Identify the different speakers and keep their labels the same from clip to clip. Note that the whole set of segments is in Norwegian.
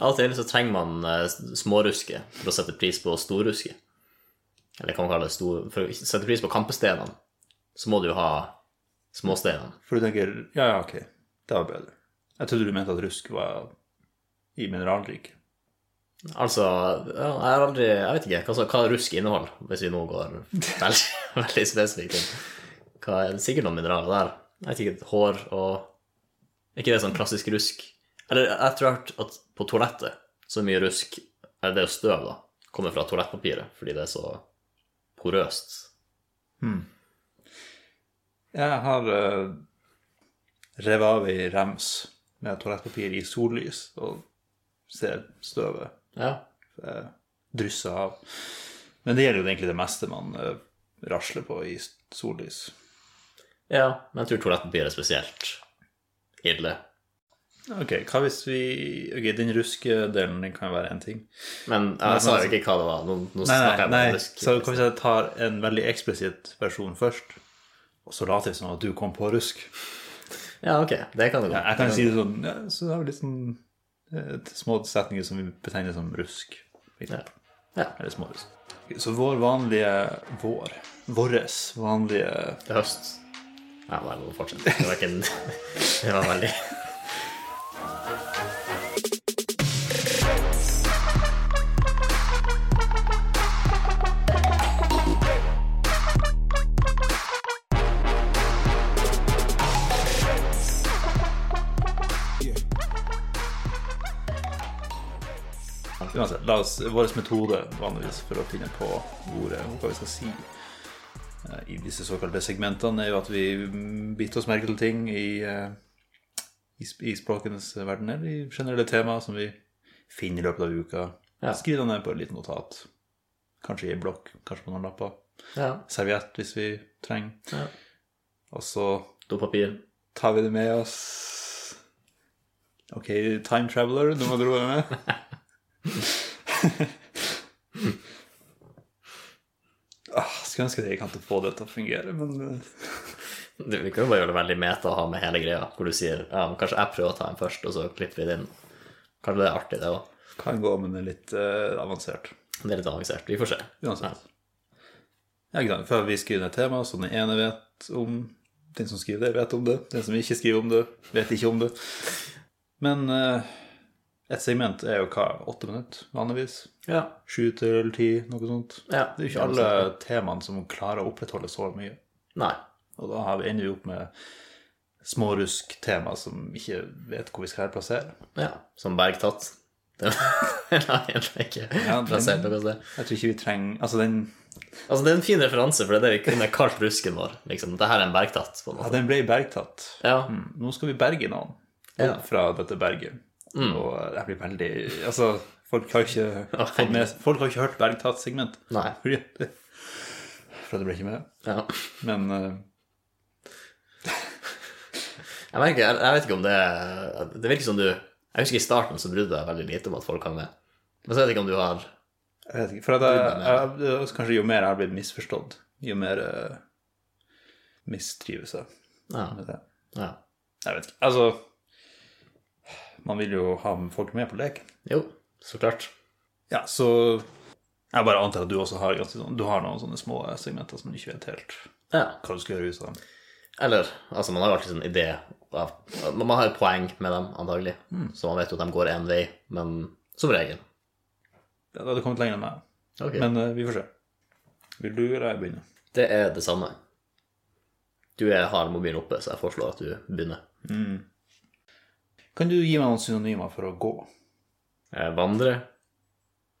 Speaker 1: Av og til så trenger man eh, småruske for å sette pris på storruske. Eller kan man kalle det stor... For å sette pris på kampesteinene, så må du jo ha småsteinene.
Speaker 2: For du tenker Ja, ja, ok. Det var bedre. Jeg trodde du mente at rusk var i mineralriket.
Speaker 1: Altså, ja, jeg har aldri Jeg vet ikke. Hva, så- hva rusk inneholder, hvis vi nå går veldig, veldig spesifikt inn? Hva er det sikkert noen mineraler der? Jeg vet ikke. Hår og Er ikke det sånn klassisk rusk? Eller jeg tror jeg har hørt at på toalettet så mye rusk Eller det er jo støv, da. Kommer fra toalettpapiret fordi det er så porøst.
Speaker 2: Jeg har uh, revet av ei rems med toalettpapir i sollys og ser støvet
Speaker 1: Ja.
Speaker 2: eh, drysse av. Men det gjelder jo egentlig det meste man eh, rasler på i sollys.
Speaker 1: ja. Men jeg tror toalettpapir er spesielt ille.
Speaker 2: Ok, hva hvis vi Ok, den ruskedelen den kan være én ting.
Speaker 1: Men jeg, sa jo ikke hva det var. Nå, nå
Speaker 2: altså- Nei,
Speaker 1: snakker
Speaker 2: nei,
Speaker 1: jeg
Speaker 2: nei.
Speaker 1: bare rusk.
Speaker 2: Så kan vi si at jeg tar en veldig eksplisitt versjon først, og så later vi som at du kom på rusk.
Speaker 1: Ja, ok. Det kan det gå.
Speaker 2: Jeg kan si det sånn ja, Så har vi litt sånn eh, små setninger som vi betegner som rusk. for
Speaker 1: Ja.
Speaker 2: eksempel.
Speaker 1: ja.
Speaker 2: Eller små rusk. Ok, Så vår vanlige vår Våres vanlige
Speaker 1: Det er høst. Ja, nei, nå fortsetter Det var ikke en Det var veldig
Speaker 2: Uansett, la oss, vår metode vanligvis for å finne på ordet og hva vi skal si eh, i disse såkalte segmentene, er jo at vi mm, biter oss merke til ting i, eh, i, sp- i språkenes verden, eller i generelle temaer som vi finner i løpet av uka.
Speaker 1: Ja.
Speaker 2: Skriv det ned på et lite notat. Kanskje i en blokk, kanskje på noen lapper.
Speaker 1: ja.
Speaker 2: Serviett hvis vi trenger.
Speaker 1: ja.
Speaker 2: Og så
Speaker 1: Dopapir.
Speaker 2: tar vi det med oss. Ok, Time Traveler, nå må du roe deg ned. ah, skulle ønske at jeg kan få det til å fungere, men eh,
Speaker 1: Du, Vi kan jo bare gjøre det veldig meta å ha med hele greia, hvor du sier ja, men kanskje jeg prøver å ta en først, og så klipper vi den. Kanskje det er artig, det òg.
Speaker 2: kan gå, men det er litt eh, avansert.
Speaker 1: Det er litt avansert. Vi får se.
Speaker 2: Uansett. Ja, ikke sant. Før vi skriver ned tema, så den ene vet om Den som skriver det, vet om det. Den som ikke skriver om det, vet ikke om det. Men eh, et segment er jo hva? Åtte minutter, vanligvis?
Speaker 1: Ja.
Speaker 2: Sju til ti, noe sånt.
Speaker 1: ja.
Speaker 2: Det er jo ikke alle temaene som klarer å opprettholde så mye.
Speaker 1: Nei.
Speaker 2: Og da har vi ender vi opp med smårusk-tema som ikke vet hvor vi skal plassere.
Speaker 1: Ja. Som bergtatt. Det har jeg egentlig ikke
Speaker 2: Ja, den-
Speaker 1: plassert noe sted.
Speaker 2: Jeg tror ikke vi trenger Altså, den,
Speaker 1: Altså, det er en fin referanse, for det er det vi kunne kalt rusken vår. liksom. Dette er en bergtatt, på en
Speaker 2: ja,
Speaker 1: måte.
Speaker 2: den ble bergtatt.
Speaker 1: Ja.
Speaker 2: Mm, Nå skal vi berge noen
Speaker 1: Ja. Mm.
Speaker 2: fra dette berget. Og det blir veldig Altså, folk har ikke, fått med, folk har ikke hørt bergtatt-segment.
Speaker 1: Nei.
Speaker 2: Fordi det- For det ble ikke med.
Speaker 1: Ja.
Speaker 2: Men eh,
Speaker 1: Jeg, merker, jeg, jeg vet ikke om det Det virker som du Jeg husker i starten så brydde du deg veldig lite om at folk hang med. Men så vet jeg ikke om du har
Speaker 2: Jeg vet ikke, for at jeg, jeg, det er også kanskje jo mer jeg har blitt misforstått, jo mer uh, mistrives jeg
Speaker 1: Ja.
Speaker 2: med det.
Speaker 1: ja.
Speaker 2: Jeg vet ikke. Altså, man vil jo ha folk med på leken.
Speaker 1: Jo, så klart.
Speaker 2: Ja, så jeg bare antar at du også har ganske sånn, du har noen sånne små segmenter som du ikke vet helt
Speaker 1: Ja.
Speaker 2: hva du skal gjøre ut av.
Speaker 1: Eller altså, man har jo alltid sånn idé av, Man man har jo poeng med dem, antagelig. Så man vet jo at de går én vei, men som regel.
Speaker 2: Det hadde kommet lenger enn meg,
Speaker 1: Ok.
Speaker 2: men eh, vi får se. Vil du eller jeg begynne?
Speaker 1: Det er det samme. Du er, har mobilen oppe, så jeg foreslår at du begynner.
Speaker 2: Mm. Kan du gi meg noen synonymer for å gå?
Speaker 1: Eh, Vandre,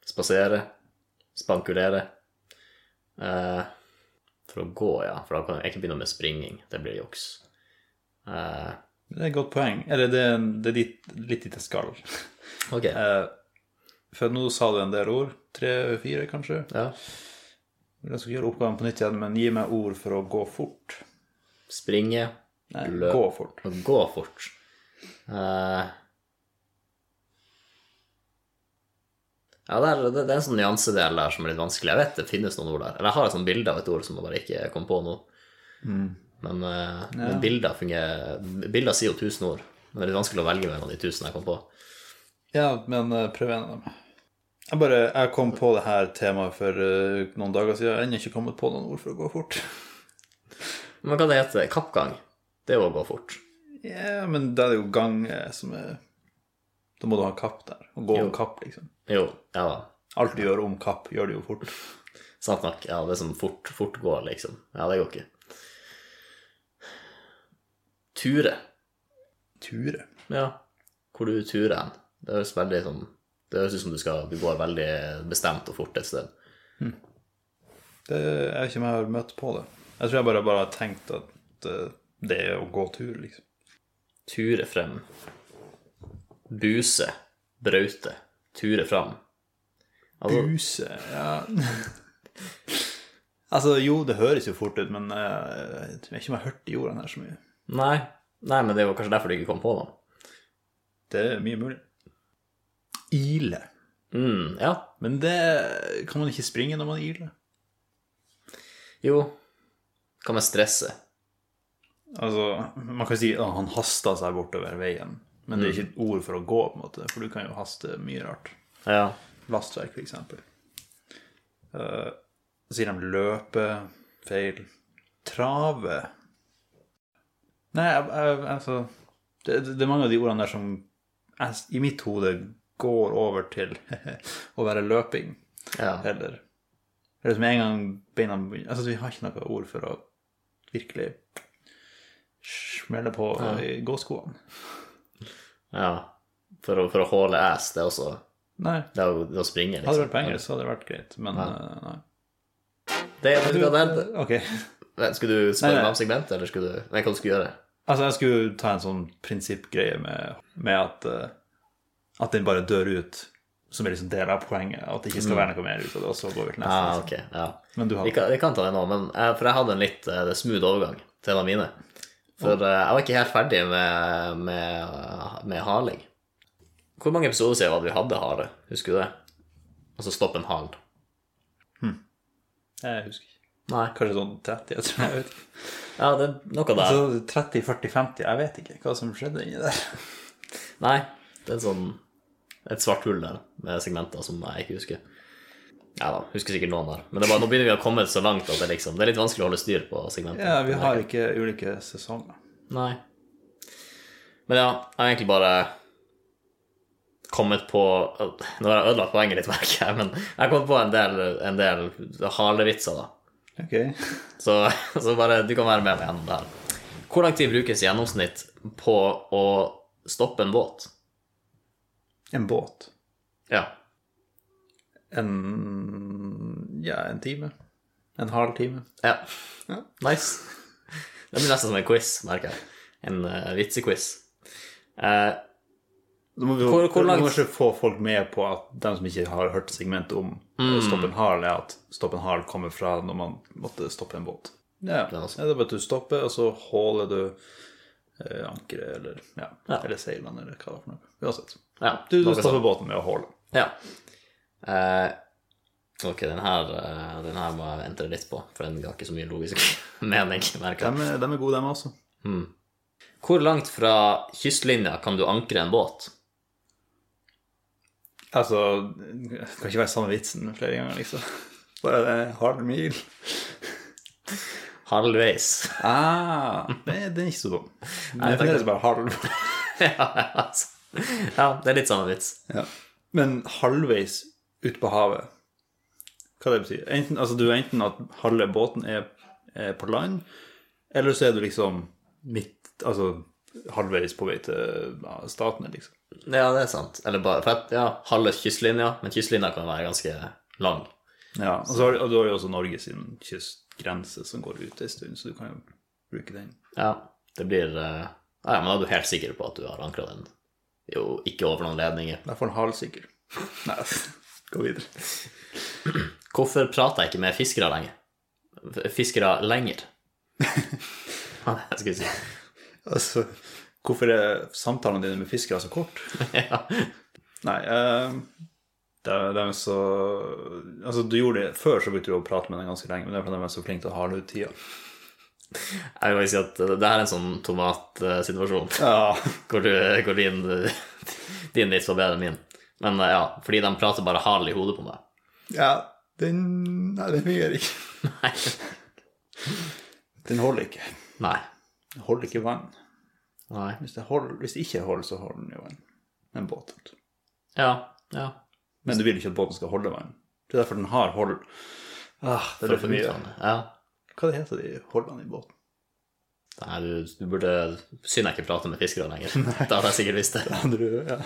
Speaker 1: spasere, spankulere. Eh, for å gå, ja. For da kan jeg ikke begynne med springing. Det blir juks. Eh,
Speaker 2: Det er et godt poeng. Eller det, er- det er dit, litt dit jeg skal.
Speaker 1: ok.
Speaker 2: Eh, for nå sa du en del ord. Tre-fire, kanskje?
Speaker 1: Ja.
Speaker 2: Jeg skal gjøre oppgaven på nytt igjen, men gi meg ord for å gå fort.
Speaker 1: Springe.
Speaker 2: Nei,
Speaker 1: Løp.
Speaker 2: gå fort.
Speaker 1: Og gå fort. Eh, ja, det er, det, det er en sånn nyansedel der som er litt vanskelig. Jeg vet det finnes noen ord der. Eller jeg har et sånt bilde av et ord som jeg bare ikke kom på nå.
Speaker 2: Mm.
Speaker 1: Men, eh, men bilder fungerer Bilder sier jo tusen ord. Men det er litt vanskelig å velge mellom de tusen jeg kom på.
Speaker 2: Ja, men eh, prøv en av dem. Jeg bare, jeg kom på det her temaet for eh, noen dager siden. Jeg har ennå ikke kommet på noen ord for å gå fort.
Speaker 1: Men hva det heter Kappgang. Det er jo å gå fort.
Speaker 2: Ja, men da er det jo gang eh, som er Da må du ha kapp der. Å gå om
Speaker 1: Jo.
Speaker 2: kapp, liksom.
Speaker 1: Jo, ja da.
Speaker 2: Alt du gjør om kapp, gjør du jo fort.
Speaker 1: Sant nok. Ja, det er sånn fort, fort går, liksom. Ja, det går ikke. Ture.
Speaker 2: Ture.
Speaker 1: Ja. Hvor du turer hen. Det høres veldig sånn Det høres ut som du skal Du går veldig bestemt og fort et sted.
Speaker 2: Det, jeg vet ikke om jeg har møtt på det. Jeg tror jeg bare, bare har tenkt at eh, det er å gå tur, liksom.
Speaker 1: Ture frem. Buse. Braute. Ture fram. Altså,
Speaker 2: Buse, ja Altså, jo, det høres jo fort ut, men eh, jeg tror ikke om jeg har hørt de ordene her så mye.
Speaker 1: nei. Nei, men det var kanskje derfor du ikke kom på dem.
Speaker 2: Det er mye mulig. Ile.
Speaker 1: Mm, ja.
Speaker 2: Men det kan man ikke springe når man iler.
Speaker 1: Jo. Hva med stresset?
Speaker 2: Altså, man kan si at han hasta seg bortover veien, men det er ikke et ord for å gå, på en måte, for du kan jo haste mye rart.
Speaker 1: Ja.
Speaker 2: Lastverk, f.eks. Uh, så sier de løpe, feil. Trave. Nei, jeg, jeg, altså det, det det er mange av de ordene der som jeg, s- i mitt hode går over til å være løping.
Speaker 1: ja.
Speaker 2: Eller Eller som en gang beina begynner Altså, vi har ikke noe ord for å virkelig smelle på eh, gåskoene.
Speaker 1: ja. For, å, for å håle ass, det er også
Speaker 2: Nei.
Speaker 1: Det er jo det er å springe,
Speaker 2: Hadde det
Speaker 1: liksom.
Speaker 2: vært på engelsk, så hadde det vært greit, men eh, nei.
Speaker 1: Det, vet du hva det er?
Speaker 2: Ok.
Speaker 1: Vent, Skulle du spørre
Speaker 2: Nei, nei.
Speaker 1: meg om segmentet, eller skulle du Nei, hva du skulle gjøre?
Speaker 2: Altså, jeg skulle ta en sånn prinsippgreie med, med at, eh, at den bare dør ut, som er liksom del av poenget. At det ikke skal være noe mer ut av det, og så går vi til neste.
Speaker 1: Ah,
Speaker 2: liksom.
Speaker 1: ok, ja.
Speaker 2: Men du har
Speaker 1: Vi kan, vi kan ta det nå, men jeg, for jeg hadde en litt eh, smooth overgang til en av mine. For eh, jeg var ikke helt ferdig med, med, med haling. Hvor mange episoder siden var det vi hadde hare? Husker du det? Altså stopp en hal.
Speaker 2: Jeg husker ikke.
Speaker 1: Nei.
Speaker 2: Kanskje sånn 30, jeg tror jeg vet ikke.
Speaker 1: Ja, det er noe der.
Speaker 2: Så 30, 40, 50, jeg vet ikke hva som skjedde inni der.
Speaker 1: Nei, det er en sånn, et svart hull der med segmenter som jeg ikke husker. Ja da, husker sikkert noen der. Men det er bare, nå begynner vi å komme så langt at det, liksom, det er litt vanskelig å holde styr på segmentene.
Speaker 2: Ja, vi har ikke ulike sesonger.
Speaker 1: Nei. Men ja, jeg har egentlig bare kommet på Nå har jeg ødelagt poenget litt, merker jeg, men jeg har kommet på en del, en del halevitser, da.
Speaker 2: Ok.
Speaker 1: Så, så bare du kan være med meg gjennom det her. Hvor lang tid brukes i gjennomsnitt på å stoppe en båt?
Speaker 2: En båt.
Speaker 1: Ja.
Speaker 2: En ja, en time. En halv time.
Speaker 1: ja.
Speaker 2: Ja.
Speaker 1: Nice. Det blir nesten som en quiz, merker jeg. En eh, vitsequiz. Eh,
Speaker 2: Nå må vi
Speaker 1: Hvor- hvor langt-
Speaker 2: vi må kanskje få folk med på at de som ikke har hørt segmentet om eh, stopp en hal, er at stopp en hal kommer fra når man måtte stoppe en båt. Ja,
Speaker 1: er
Speaker 2: ja
Speaker 1: også-
Speaker 2: det er bare at du stopper, og så håler du eh, ankeret eller, ja,
Speaker 1: Ja.
Speaker 2: eller seilene eller hva det er for noe. Uansett.
Speaker 1: ja,
Speaker 2: Du, du
Speaker 1: noe sånt.
Speaker 2: stopper båten med å håle.
Speaker 1: Ja. Eh, ok, den her, eh, den her må jeg vente litt på, for den har ikke så mye logisk mening. merker jeg.
Speaker 2: De er, de er gode, dem også.
Speaker 1: Hvor langt fra kystlinja kan du ankre en båt?
Speaker 2: Altså, det kan ikke være samme vitsen flere ganger, liksom. Bare en halv mil.
Speaker 1: Halvveis.
Speaker 2: Ah, det, den er ikke så dum. Men det er fremdeles bare halv.
Speaker 1: ja, altså. ja, det er litt samme vits.
Speaker 2: Ja. Men halvveis ut på havet, hva det betyr? Enten, altså, du er enten at halve båten er, er på land, eller så er du liksom midt, altså halvveis på vei til ja, statene, liksom.
Speaker 1: Ja, det er sant. Eller bare for at, ja, halve kystlinja, men kystlinja kan være ganske lang.
Speaker 2: Ja, og, så har, og du har jo også Norge sin kystgrense som går ut en stund, så du kan jo bruke den.
Speaker 1: Ja, det blir eh, Ja, men da er du helt sikker på at du har ankra den. Jo, ikke over noen ledninger.
Speaker 2: I hvert fall halvsikker. Nei, altså. gå videre.
Speaker 1: Hvorfor prater jeg ikke med fiskere lenger? Fiskere lenger? Hva var det jeg skulle si?
Speaker 2: Altså, hvorfor er samtalene dine med fiskere så kort?
Speaker 1: Ja.
Speaker 2: Nei, eh, det er, det er så Altså, du gjorde det før, så brukte du å prate med dem ganske lenge, men det er fordi de er så flinke til å hale ut tida.
Speaker 1: Jeg vil bare si at det her er en sånn tomatsituasjon
Speaker 2: Ja.
Speaker 1: hvor, du- hvor din, din vits var bedre enn min. Men eh, ja, fordi de prater bare hard i hodet på meg.
Speaker 2: ja den Nei, den fungerer ikke.
Speaker 1: Nei.
Speaker 2: Den holder ikke.
Speaker 1: Nei.
Speaker 2: Den holder ikke vann.
Speaker 1: Nei.
Speaker 2: Hvis det, holder, hvis det ikke holder, så holder den jo vann. En båt. vet du.
Speaker 1: Ja. ja.
Speaker 2: Men du vil ikke at båten skal holde vann. Det er derfor den har hold. Ah, det er for mye.
Speaker 1: Ja.
Speaker 2: Hva det heter de holdene i båten?
Speaker 1: Nei, du, du burde Synd jeg ikke prater med fiskere lenger. Da hadde jeg sikkert visst det.
Speaker 2: Andre, ja.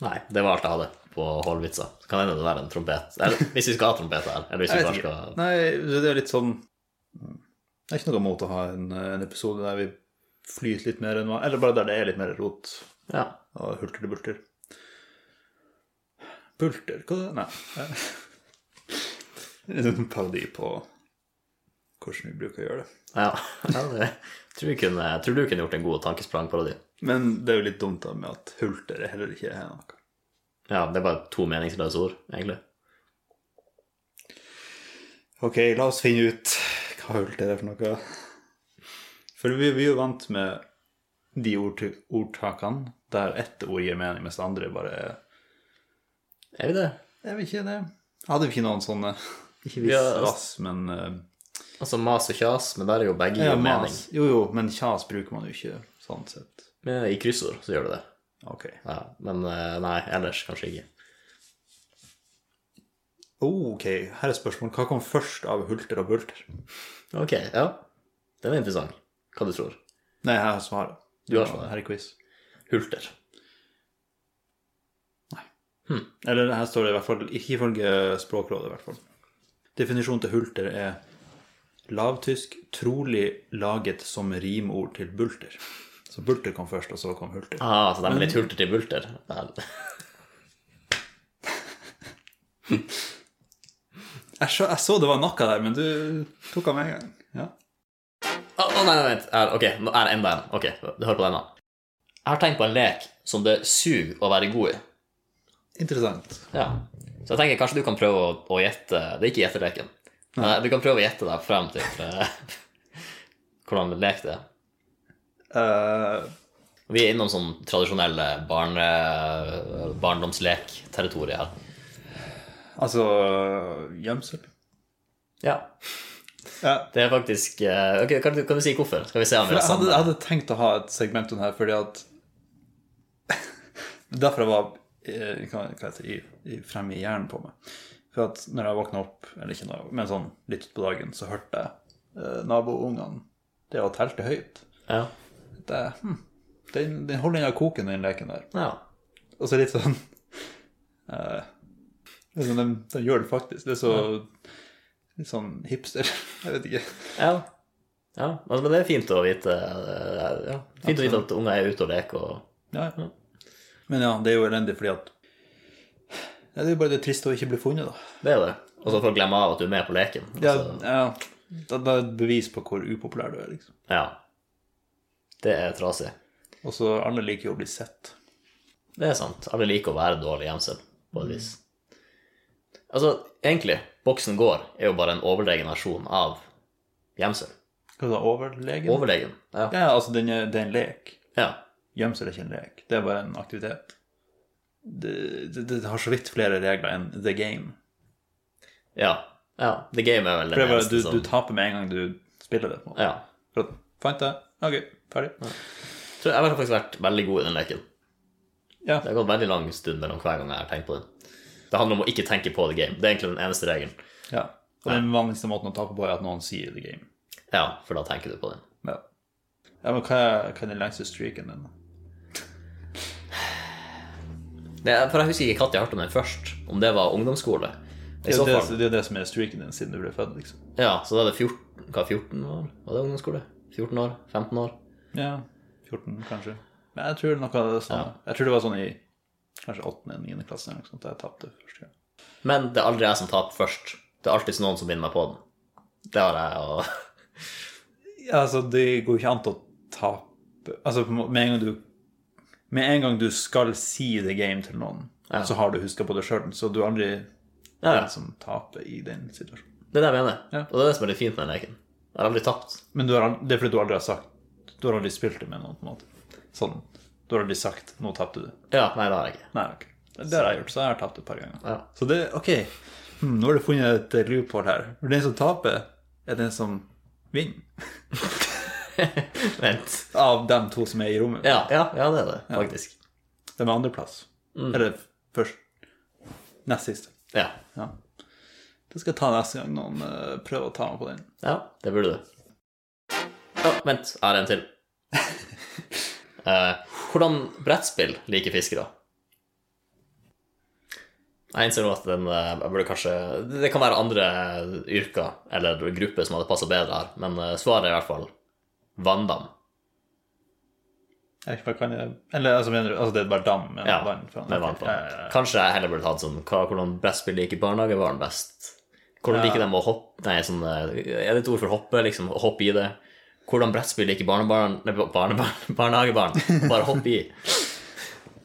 Speaker 1: Nei, det var alt jeg hadde på holdvitser. Så Kan hende det være en trompet. Eller, hvis vi skal ha trompet her. Eller hvis
Speaker 2: Jeg
Speaker 1: vi
Speaker 2: vet
Speaker 1: bare
Speaker 2: ikke.
Speaker 1: skal
Speaker 2: Nei, det er litt sånn Det er ikke noe mot å ha en, en episode der vi flyter litt mer enn hva Eller bare der det er litt mer rot
Speaker 1: Ja.
Speaker 2: og hulter til bulter. Bulter Hva er det? Nei. Det er En parodi på hvordan vi bruker å gjøre det.
Speaker 1: ja. ja det, tror, jeg kunne, tror du kunne gjort en god tankesprangparodi.
Speaker 2: Men det er jo litt dumt da med at hulter er heller ikke er noe.
Speaker 1: Ja, det er bare to meningsløse ord, egentlig.
Speaker 2: Ok, la oss finne ut hva hulter er for noe. For vi, vi er jo vant med de ordtak- ordtakene der ett ord gir mening, mens det andre bare er
Speaker 1: Er vi det?
Speaker 2: Jeg vet ikke det. Hadde vi ikke noen sånne Ikke
Speaker 1: Vi
Speaker 2: viss
Speaker 1: har-
Speaker 2: rass, men eh,
Speaker 1: Altså mas og kjas, men der er jo begge
Speaker 2: ja,
Speaker 1: gir mening.
Speaker 2: mas. Jo, jo, men kjas bruker man jo ikke sånn sett.
Speaker 1: Men I kryssord så gjør du det.
Speaker 2: Ok.
Speaker 1: Ja, men eh, nei, ellers kanskje ikke.
Speaker 2: Oh, ok, her er spørsmålet. Hva kom først av hulter og bulter?
Speaker 1: Ok, ja. Den er interessant. Hva du tror.
Speaker 2: Nei, jeg har svaret.
Speaker 1: Du har svaret.
Speaker 2: Her er quiz.
Speaker 1: Hulter.
Speaker 2: Eller her står det i hvert fall, ikke ifølge Språkrådet i hvert fall. Definisjonen til hulter er lavtysk, trolig laget som rimord til bulter. Så bulter kom først, og så kom hulter.
Speaker 1: Ah, så de er litt hulter til bulter. Vel,
Speaker 2: Jeg så, jeg så det var noe der, men du tok av meg en gang. Ja.
Speaker 1: Å, å, nei, nei, vent. Her, ok, nå er det enda en. Ok, hør på denne. Jeg har tenkt på en lek som det suger å være god i.
Speaker 2: Interessant.
Speaker 1: Ja. Så jeg tenker kanskje du kan prøve å, å gjette Det er ikke gjetteleken. Nei, du kan prøve å gjette deg frem til eh, hvordan lek det er.
Speaker 2: Eh,
Speaker 1: Vi er innom sånn tradisjonelle barne, barndomslek-territoriet her.
Speaker 2: altså gjemsel.
Speaker 1: Ja.
Speaker 2: Ja.
Speaker 1: Det er faktisk eh, Ok, kan du, kan du si hvorfor? Skal vi se om vi
Speaker 2: Jeg
Speaker 1: har
Speaker 2: hadde,
Speaker 1: samme
Speaker 2: jeg hadde tenkt å ha et segment om det her, fordi at Derfor jeg var eh, hva, hva heter det, i, i, fremme i hjernen på meg. For at når jeg våkna opp, eller ikke når, men sånn litt utpå dagen, så hørte jeg eh, naboungene det å telte høyt.
Speaker 1: Ja.
Speaker 2: Det, hm, den, den holder inn av koken, den leken der.
Speaker 1: ja.
Speaker 2: Og så litt sånn eh, det er sånn, de, de gjør det faktisk. Det er så litt sånn hipster. Jeg vet ikke.
Speaker 1: Ja. ja. Altså, Men men det er fint å vite eh, ja. Fint å vite at unger er ute og leker og
Speaker 2: Ja, ja. Men ja, det er jo elendig fordi at ja, Det er jo bare det triste å ikke bli funnet, da.
Speaker 1: Det er jo det. Og så folk glemmer av at du er med på leken.
Speaker 2: Ja,
Speaker 1: Altså,
Speaker 2: ja, da, da er det et bevis på hvor upopulær du er, liksom.
Speaker 1: ja. Det er trasig.
Speaker 2: Og så alle liker jo å bli sett.
Speaker 1: Det er sant. Alle liker å være dårlig gjemsel, på
Speaker 2: Mm.
Speaker 1: et vis. Altså, egentlig, Boksen gård er jo bare en overlegen versjon av gjemsel.
Speaker 2: Hva da, overlegen?
Speaker 1: Overlegen. Ja.
Speaker 2: Mm. Ja, altså, den er, det er en lek.
Speaker 1: ja.
Speaker 2: Gjemsel er ikke en lek. Det er bare en aktivitet. Det, det, det har så vidt flere regler enn the game.
Speaker 1: Ja. ja. The game er vel
Speaker 2: For
Speaker 1: den
Speaker 2: det er sånn. bare,
Speaker 1: eneste
Speaker 2: du,
Speaker 1: som
Speaker 2: du taper med en gang du spiller det. på en måte.
Speaker 1: Ja.
Speaker 2: For at, Fant det. OK, ferdig.
Speaker 1: Jeg tror jeg har faktisk vært veldig god i den leken.
Speaker 2: Ja.
Speaker 1: Det har gått veldig lang stund mellom hver gang jeg har tenkt på den. Det handler om å ikke tenke på the game. Det er egentlig den eneste regelen.
Speaker 2: ja. Og den vanligste måten å tape på er at noen sier the game.
Speaker 1: Ja, for da tenker du på den.
Speaker 2: Ja. ja men hva er, hva er den lengste streaken din? da?
Speaker 1: Det, er- for jeg husker ikke hva jeg hørte om den først. Om det var ungdomsskole. I
Speaker 2: Det er
Speaker 1: så
Speaker 2: jo det,
Speaker 1: fall.
Speaker 2: det, er jo det som er streaken din siden du ble født, liksom.
Speaker 1: Ja, så da er det 14 Hva, 14 år? Var det ungdomsskole? 14 år? 15 år?
Speaker 2: Ja, 14 kanskje. Men jeg tror det er noe av det samme. Jeg tror det var sånn i kanskje 8. eller 9. klasse eller noe sånt, da jeg tapte første gang.
Speaker 1: Men det er aldri jeg som taper først. Det er alltid noen som minner meg på den. Det har jeg, og
Speaker 2: Ja, altså, det går jo ikke an til å tape Altså, på en må- med en gang du Med en gang du skal si the game til noen, så har du huska på det sjøl, så du er aldri
Speaker 1: Ja, ja.
Speaker 2: den som taper i den situasjonen.
Speaker 1: Det er det jeg mener.
Speaker 2: Ja.
Speaker 1: Og det er det som er litt fint med den leken. Jeg har aldri tapt.
Speaker 2: Men du har, ald- det er fordi du aldri har sagt Du har aldri spilt det med noen, på en måte. Sånn. Du har aldri sagt 'nå tapte du'.
Speaker 1: Ja, nei, det har jeg ikke.
Speaker 2: Nei, ok. Det har jeg gjort, så jeg har tapt et par ganger.
Speaker 1: Ja.
Speaker 2: Så det, ok, hmm, nå har du funnet et loophole her. For den som taper, er den som vinner.
Speaker 1: Vent.
Speaker 2: Av dem to som er i rommet.
Speaker 1: Ja, ja, ja det er det, faktisk.
Speaker 2: De er andreplass.
Speaker 1: Mm.
Speaker 2: Eller først. Nest siste.
Speaker 1: Ja.
Speaker 2: Ja. Det skal jeg ta neste gang noen eh, prøver å ta meg på den.
Speaker 1: ja, det burde du. Ja, vent, jeg har en til. Eh, hvordan brettspill liker fiskere? Jeg innser nå at den, eh, jeg burde kanskje, det kan være andre yrker eller grupper som hadde passet bedre her, men eh, svaret er i hvert fall vanndam.
Speaker 2: Jeg vet ikke hva kan jeg Eller altså, mener du, altså det er bare dam med
Speaker 1: Ja,
Speaker 2: vann fra?
Speaker 1: med vann på.
Speaker 2: Ja, ja, ja.
Speaker 1: Kanskje jeg heller burde tatt sånn hva, Hvordan brettspill liker barnehagebarn best? Hvordan liker de å hoppe Nei, sånn, eh, er det et ord for hoppe? Liksom, å hoppe i det? Hvordan brettspill liker barnebarn Nei, barnebarn, barnehagebarn? Bare hoppe i.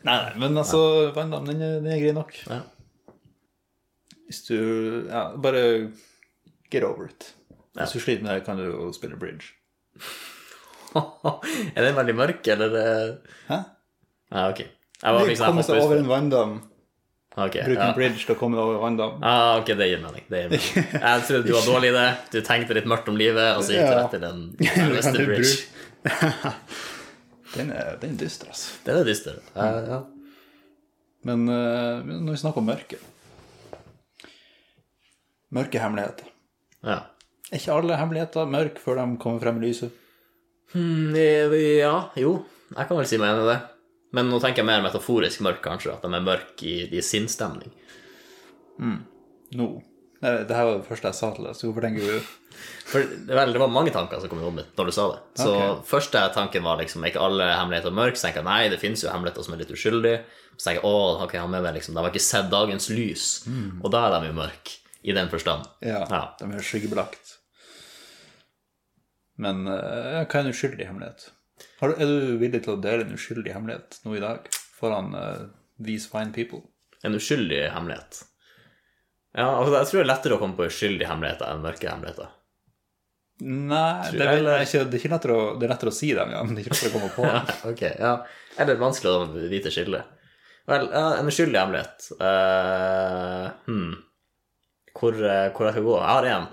Speaker 2: Nei, nei, men altså, vanndam, den er, den er grei nok.
Speaker 1: Ja.
Speaker 2: Hvis du Ja, bare get over it. Hvis du sliter med det, kan du jo spille bridge.
Speaker 1: er den veldig mørk, eller eh,
Speaker 2: Hæ?
Speaker 1: Nei, ok. Jeg var liksom
Speaker 2: Komme
Speaker 1: jeg
Speaker 2: seg over
Speaker 1: hoppet ut.
Speaker 2: en vanndam.
Speaker 1: Ok,
Speaker 2: Bruke
Speaker 1: ja.
Speaker 2: en bridge til å komme deg over vanndam.
Speaker 1: Ah, ok, det gir mening. Det gir mening. Jeg trodde du var dårlig i det. Du tenkte litt mørkt om livet, og så gikk du
Speaker 2: Ja.
Speaker 1: rett til en
Speaker 2: Eller kan
Speaker 1: Western
Speaker 2: du
Speaker 1: Bridge.
Speaker 2: bruke- den, er, den er dyster, altså.
Speaker 1: Den er dyster. Ja, ja.
Speaker 2: Men eh, men når vi snakker om mørke Mørke hemmeligheter.
Speaker 1: ja.
Speaker 2: Er ikke alle hemmeligheter mørke før de kommer frem i lyset?
Speaker 1: Mm, eh, Ja, jo. Jeg kan vel si meg enig i det. Men nå tenker jeg mer metaforisk mørk, kanskje. At de er mørke i, i sinnsstemning.
Speaker 2: Nå. Nei, det her var det første jeg sa til deg, så hvorfor tenker du
Speaker 1: For det- vel, det var mange tanker som kom i hodet mitt når du sa det. Så første tanken var liksom er ikke alle hemmeligheter mørke. Så tenker jeg nei, det finnes jo hemmeligheter som er litt uskyldige. Så tenker jeg å, ok, han mener liksom, de har ikke sett dagens lys. Og da er de jo mørke. I den forstand.
Speaker 2: Ja,
Speaker 1: Ja.
Speaker 2: de er skyggebelagt. Men eh, hva er en uskyldig hemmelighet? Har du, er du villig til å dele en uskyldig hemmelighet nå i dag foran eh, these fine people?
Speaker 1: En uskyldig hemmelighet. Ja, altså, jeg tror det er lettere å komme på uskyldige hemmeligheter enn mørke hemmeligheter.
Speaker 2: Nei, det,
Speaker 1: jeg-
Speaker 2: er vel ikke, det, er ikke lettere å, det er lettere å si dem, ja, men det er ikke lettere å komme på.
Speaker 1: Ja, ok, ja. Eller vanskelig å vite skille. Vel, ja, en uskyldig hemmelighet. Eh, hmm. hvor, eh, hvor jeg skal gå? Jeg har én.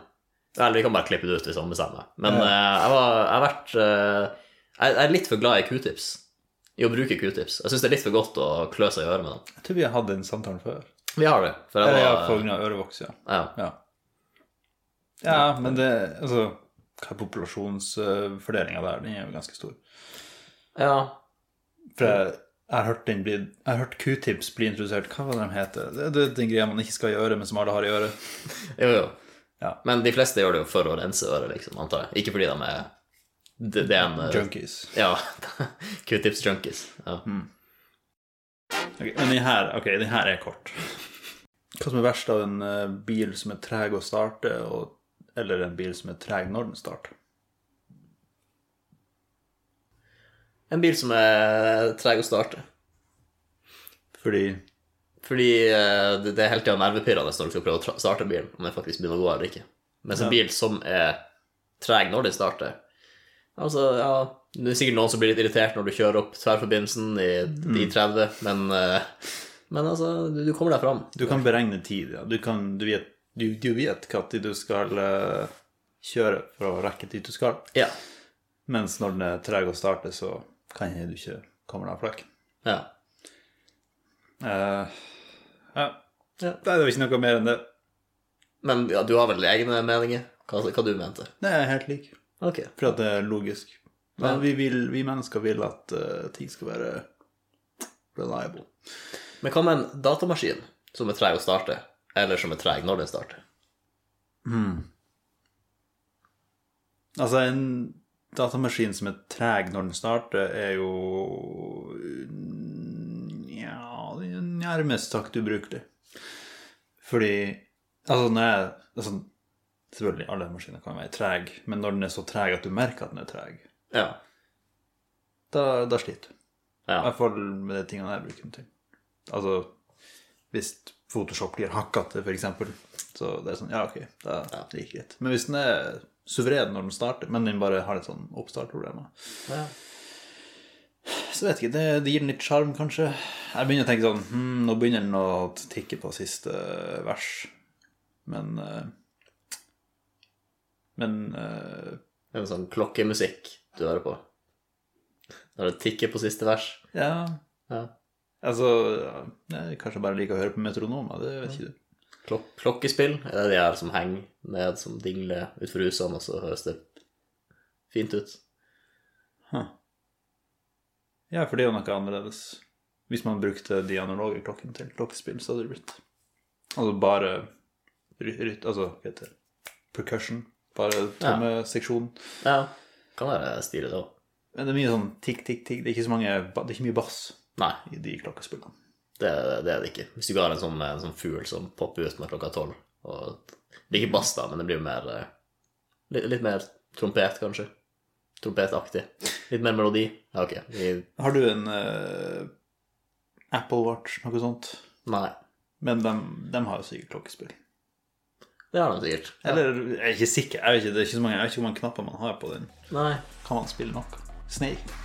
Speaker 1: Vel, vi kan bare klippe det ut hvis han bestemmer. Men eh, jeg, var, jeg har vært eh, jeg, jeg er litt for glad i q-tips. I å bruke q-tips. Jeg syns det er litt for godt å klø seg i øret med dem.
Speaker 2: Jeg tror vi har hatt den samtalen før.
Speaker 1: Vi har det. For
Speaker 2: Eller
Speaker 1: jeg
Speaker 2: ja,
Speaker 1: var,
Speaker 2: på grunn av ørevoks, ja.
Speaker 1: ja.
Speaker 2: ja. Ja, men det Altså, hva er populasjonsfordelinga der? Den er jo ganske stor.
Speaker 1: ja.
Speaker 2: For jeg, jeg har hørt, den bli, jeg har hørt Q-tips bli introdusert. Hva var det de heter? Det, det er den greia man ikke skal gjøre, men som alle har i øret.
Speaker 1: Jo, jo.
Speaker 2: Ja.
Speaker 1: Men de fleste gjør det jo for å rense øret, liksom, antar jeg. Ikke fordi de er Det, det er en eh,
Speaker 2: Junkies.
Speaker 1: Ja. Q-tips junkies. Ja.
Speaker 2: Ok, men den her, ok, den her er kort. Hva som er verst av en eh, bil som er treg å starte, og, eller en bil som er treg når den starter?
Speaker 1: En bil som er treg å starte.
Speaker 2: Fordi
Speaker 1: Fordi eh, det det er hele tida nervepirrende når du skal prøve å tra- starte bilen, om den faktisk begynner å gå eller ikke. Mens en bil som er treg når den starter Altså, ja Det er sikkert noen som blir litt irritert når du kjører opp tverrforbindelsen i, i 30, men, eh, men altså, du, du kommer deg fram.
Speaker 2: Du kan beregne tid, ja. Du, kan, du vet, du, du vet hva tid du skal eh, kjøre for å rekke dit du skal.
Speaker 1: Ja.
Speaker 2: Mens når den er treg å starte, så kan du ikke komme deg av flekken.
Speaker 1: ja.
Speaker 2: Eh,
Speaker 1: Ja.
Speaker 2: ja. Nei, det var ikke noe mer enn det.
Speaker 1: Men ja, du har vel egne meninger? Hva, hva du mente?
Speaker 2: Det er helt lik.
Speaker 1: Ok.
Speaker 2: For at det er logisk. Men vi, vil, vi mennesker vil at eh, ting skal være reliable.
Speaker 1: Men hva med en datamaskin som er treg å starte, eller som er treg når den starter?
Speaker 2: Altså, en datamaskin som er treg når den starter, er jo Ja, det er nærmest sagt ubrukelig. Fordi Altså, når jeg altså, Selvfølgelig, alle maskiner kan være treg, men når den er så treg at du merker at den er treg,
Speaker 1: Ja.
Speaker 2: da, da sliter du. I
Speaker 1: ja.
Speaker 2: hvert fall med de tingene jeg bruker den til. Altså, hvis Photoshop blir hackete, f.eks., så det er sånn Ja, ok, da det gikk greit. Men hvis den er suveren når den starter, men den bare har litt sånn oppstartproblemer
Speaker 1: Ja.
Speaker 2: Så vet jeg ikke, det, det gir den litt sjarm, kanskje. Jeg begynner å tenke sånn hm, Nå begynner den å tikke på siste vers. Men eh, Men eh,
Speaker 1: Det er en sånn klokkemusikk du hører på. Når det tikker på siste vers.
Speaker 2: Ja,
Speaker 1: Ja.
Speaker 2: altså Jeg kanskje bare liker å høre på metronomer, det vet ikke du.
Speaker 1: Klok klokkespill er det de her som henger ned, som dingler utfor husene, og så høres det fint ut.
Speaker 2: Ja, for det er jo noe annerledes. Hvis man brukte de analoge klokkene til klokkespill, så hadde det blitt Altså bare ry- ryt... Altså, hva heter det? Percussion. Bare trommeseksjon.
Speaker 1: Ja, kan være stilig, det òg.
Speaker 2: Men det er mye sånn tikk, tikk, tikk. Det er ikke så mange ba- Det er ikke mye bass
Speaker 1: Nei,
Speaker 2: i de klokkespillene.
Speaker 1: det, det er det ikke. Hvis du ikke har en sånn, en sånn fugl som popper ut med klokka tolv. Og det blir ikke bass, da, men det blir jo mer eh, litt, litt mer trompet, kanskje. Trompetaktig. Litt mer melodi. Ja, ok. Vi,
Speaker 2: Har du en eh, Apple Watch, noe sånt?
Speaker 1: nei.
Speaker 2: Men dem- dem har jo sikkert klokkespill.
Speaker 1: Det har de sikkert. Ja.
Speaker 2: Eller jeg er ikke sikker. Jeg vet ikke, det er ikke så mange, jeg vet ikke hvor mange knapper man har på den.
Speaker 1: Nei,
Speaker 2: Kan man spille noe? Snake.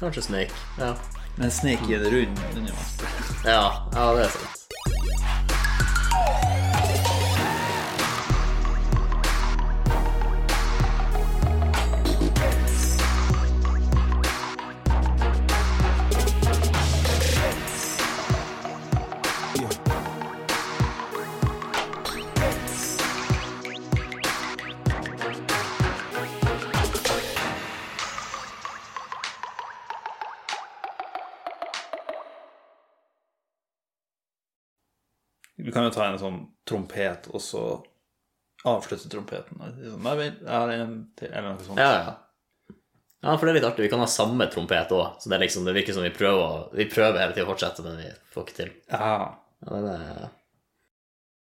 Speaker 1: kanskje Snake. Ja.
Speaker 2: Men Snake i en rund den er jo vanskelig.
Speaker 1: ja. Ja, det er sant.
Speaker 2: Vi kan jo ta en sånn trompet, og så avslutte trompeten. Og det er sånn, Nei, vent, jeg har en til, eller noe sånt.
Speaker 1: Ja, ja. Ja, for det er litt artig. Vi kan ha samme trompet òg. Så det, er liksom, det virker som vi prøver, å- vi prøver hele tiden å fortsette, men vi får ikke til.
Speaker 2: Ja.
Speaker 1: Ja, den er,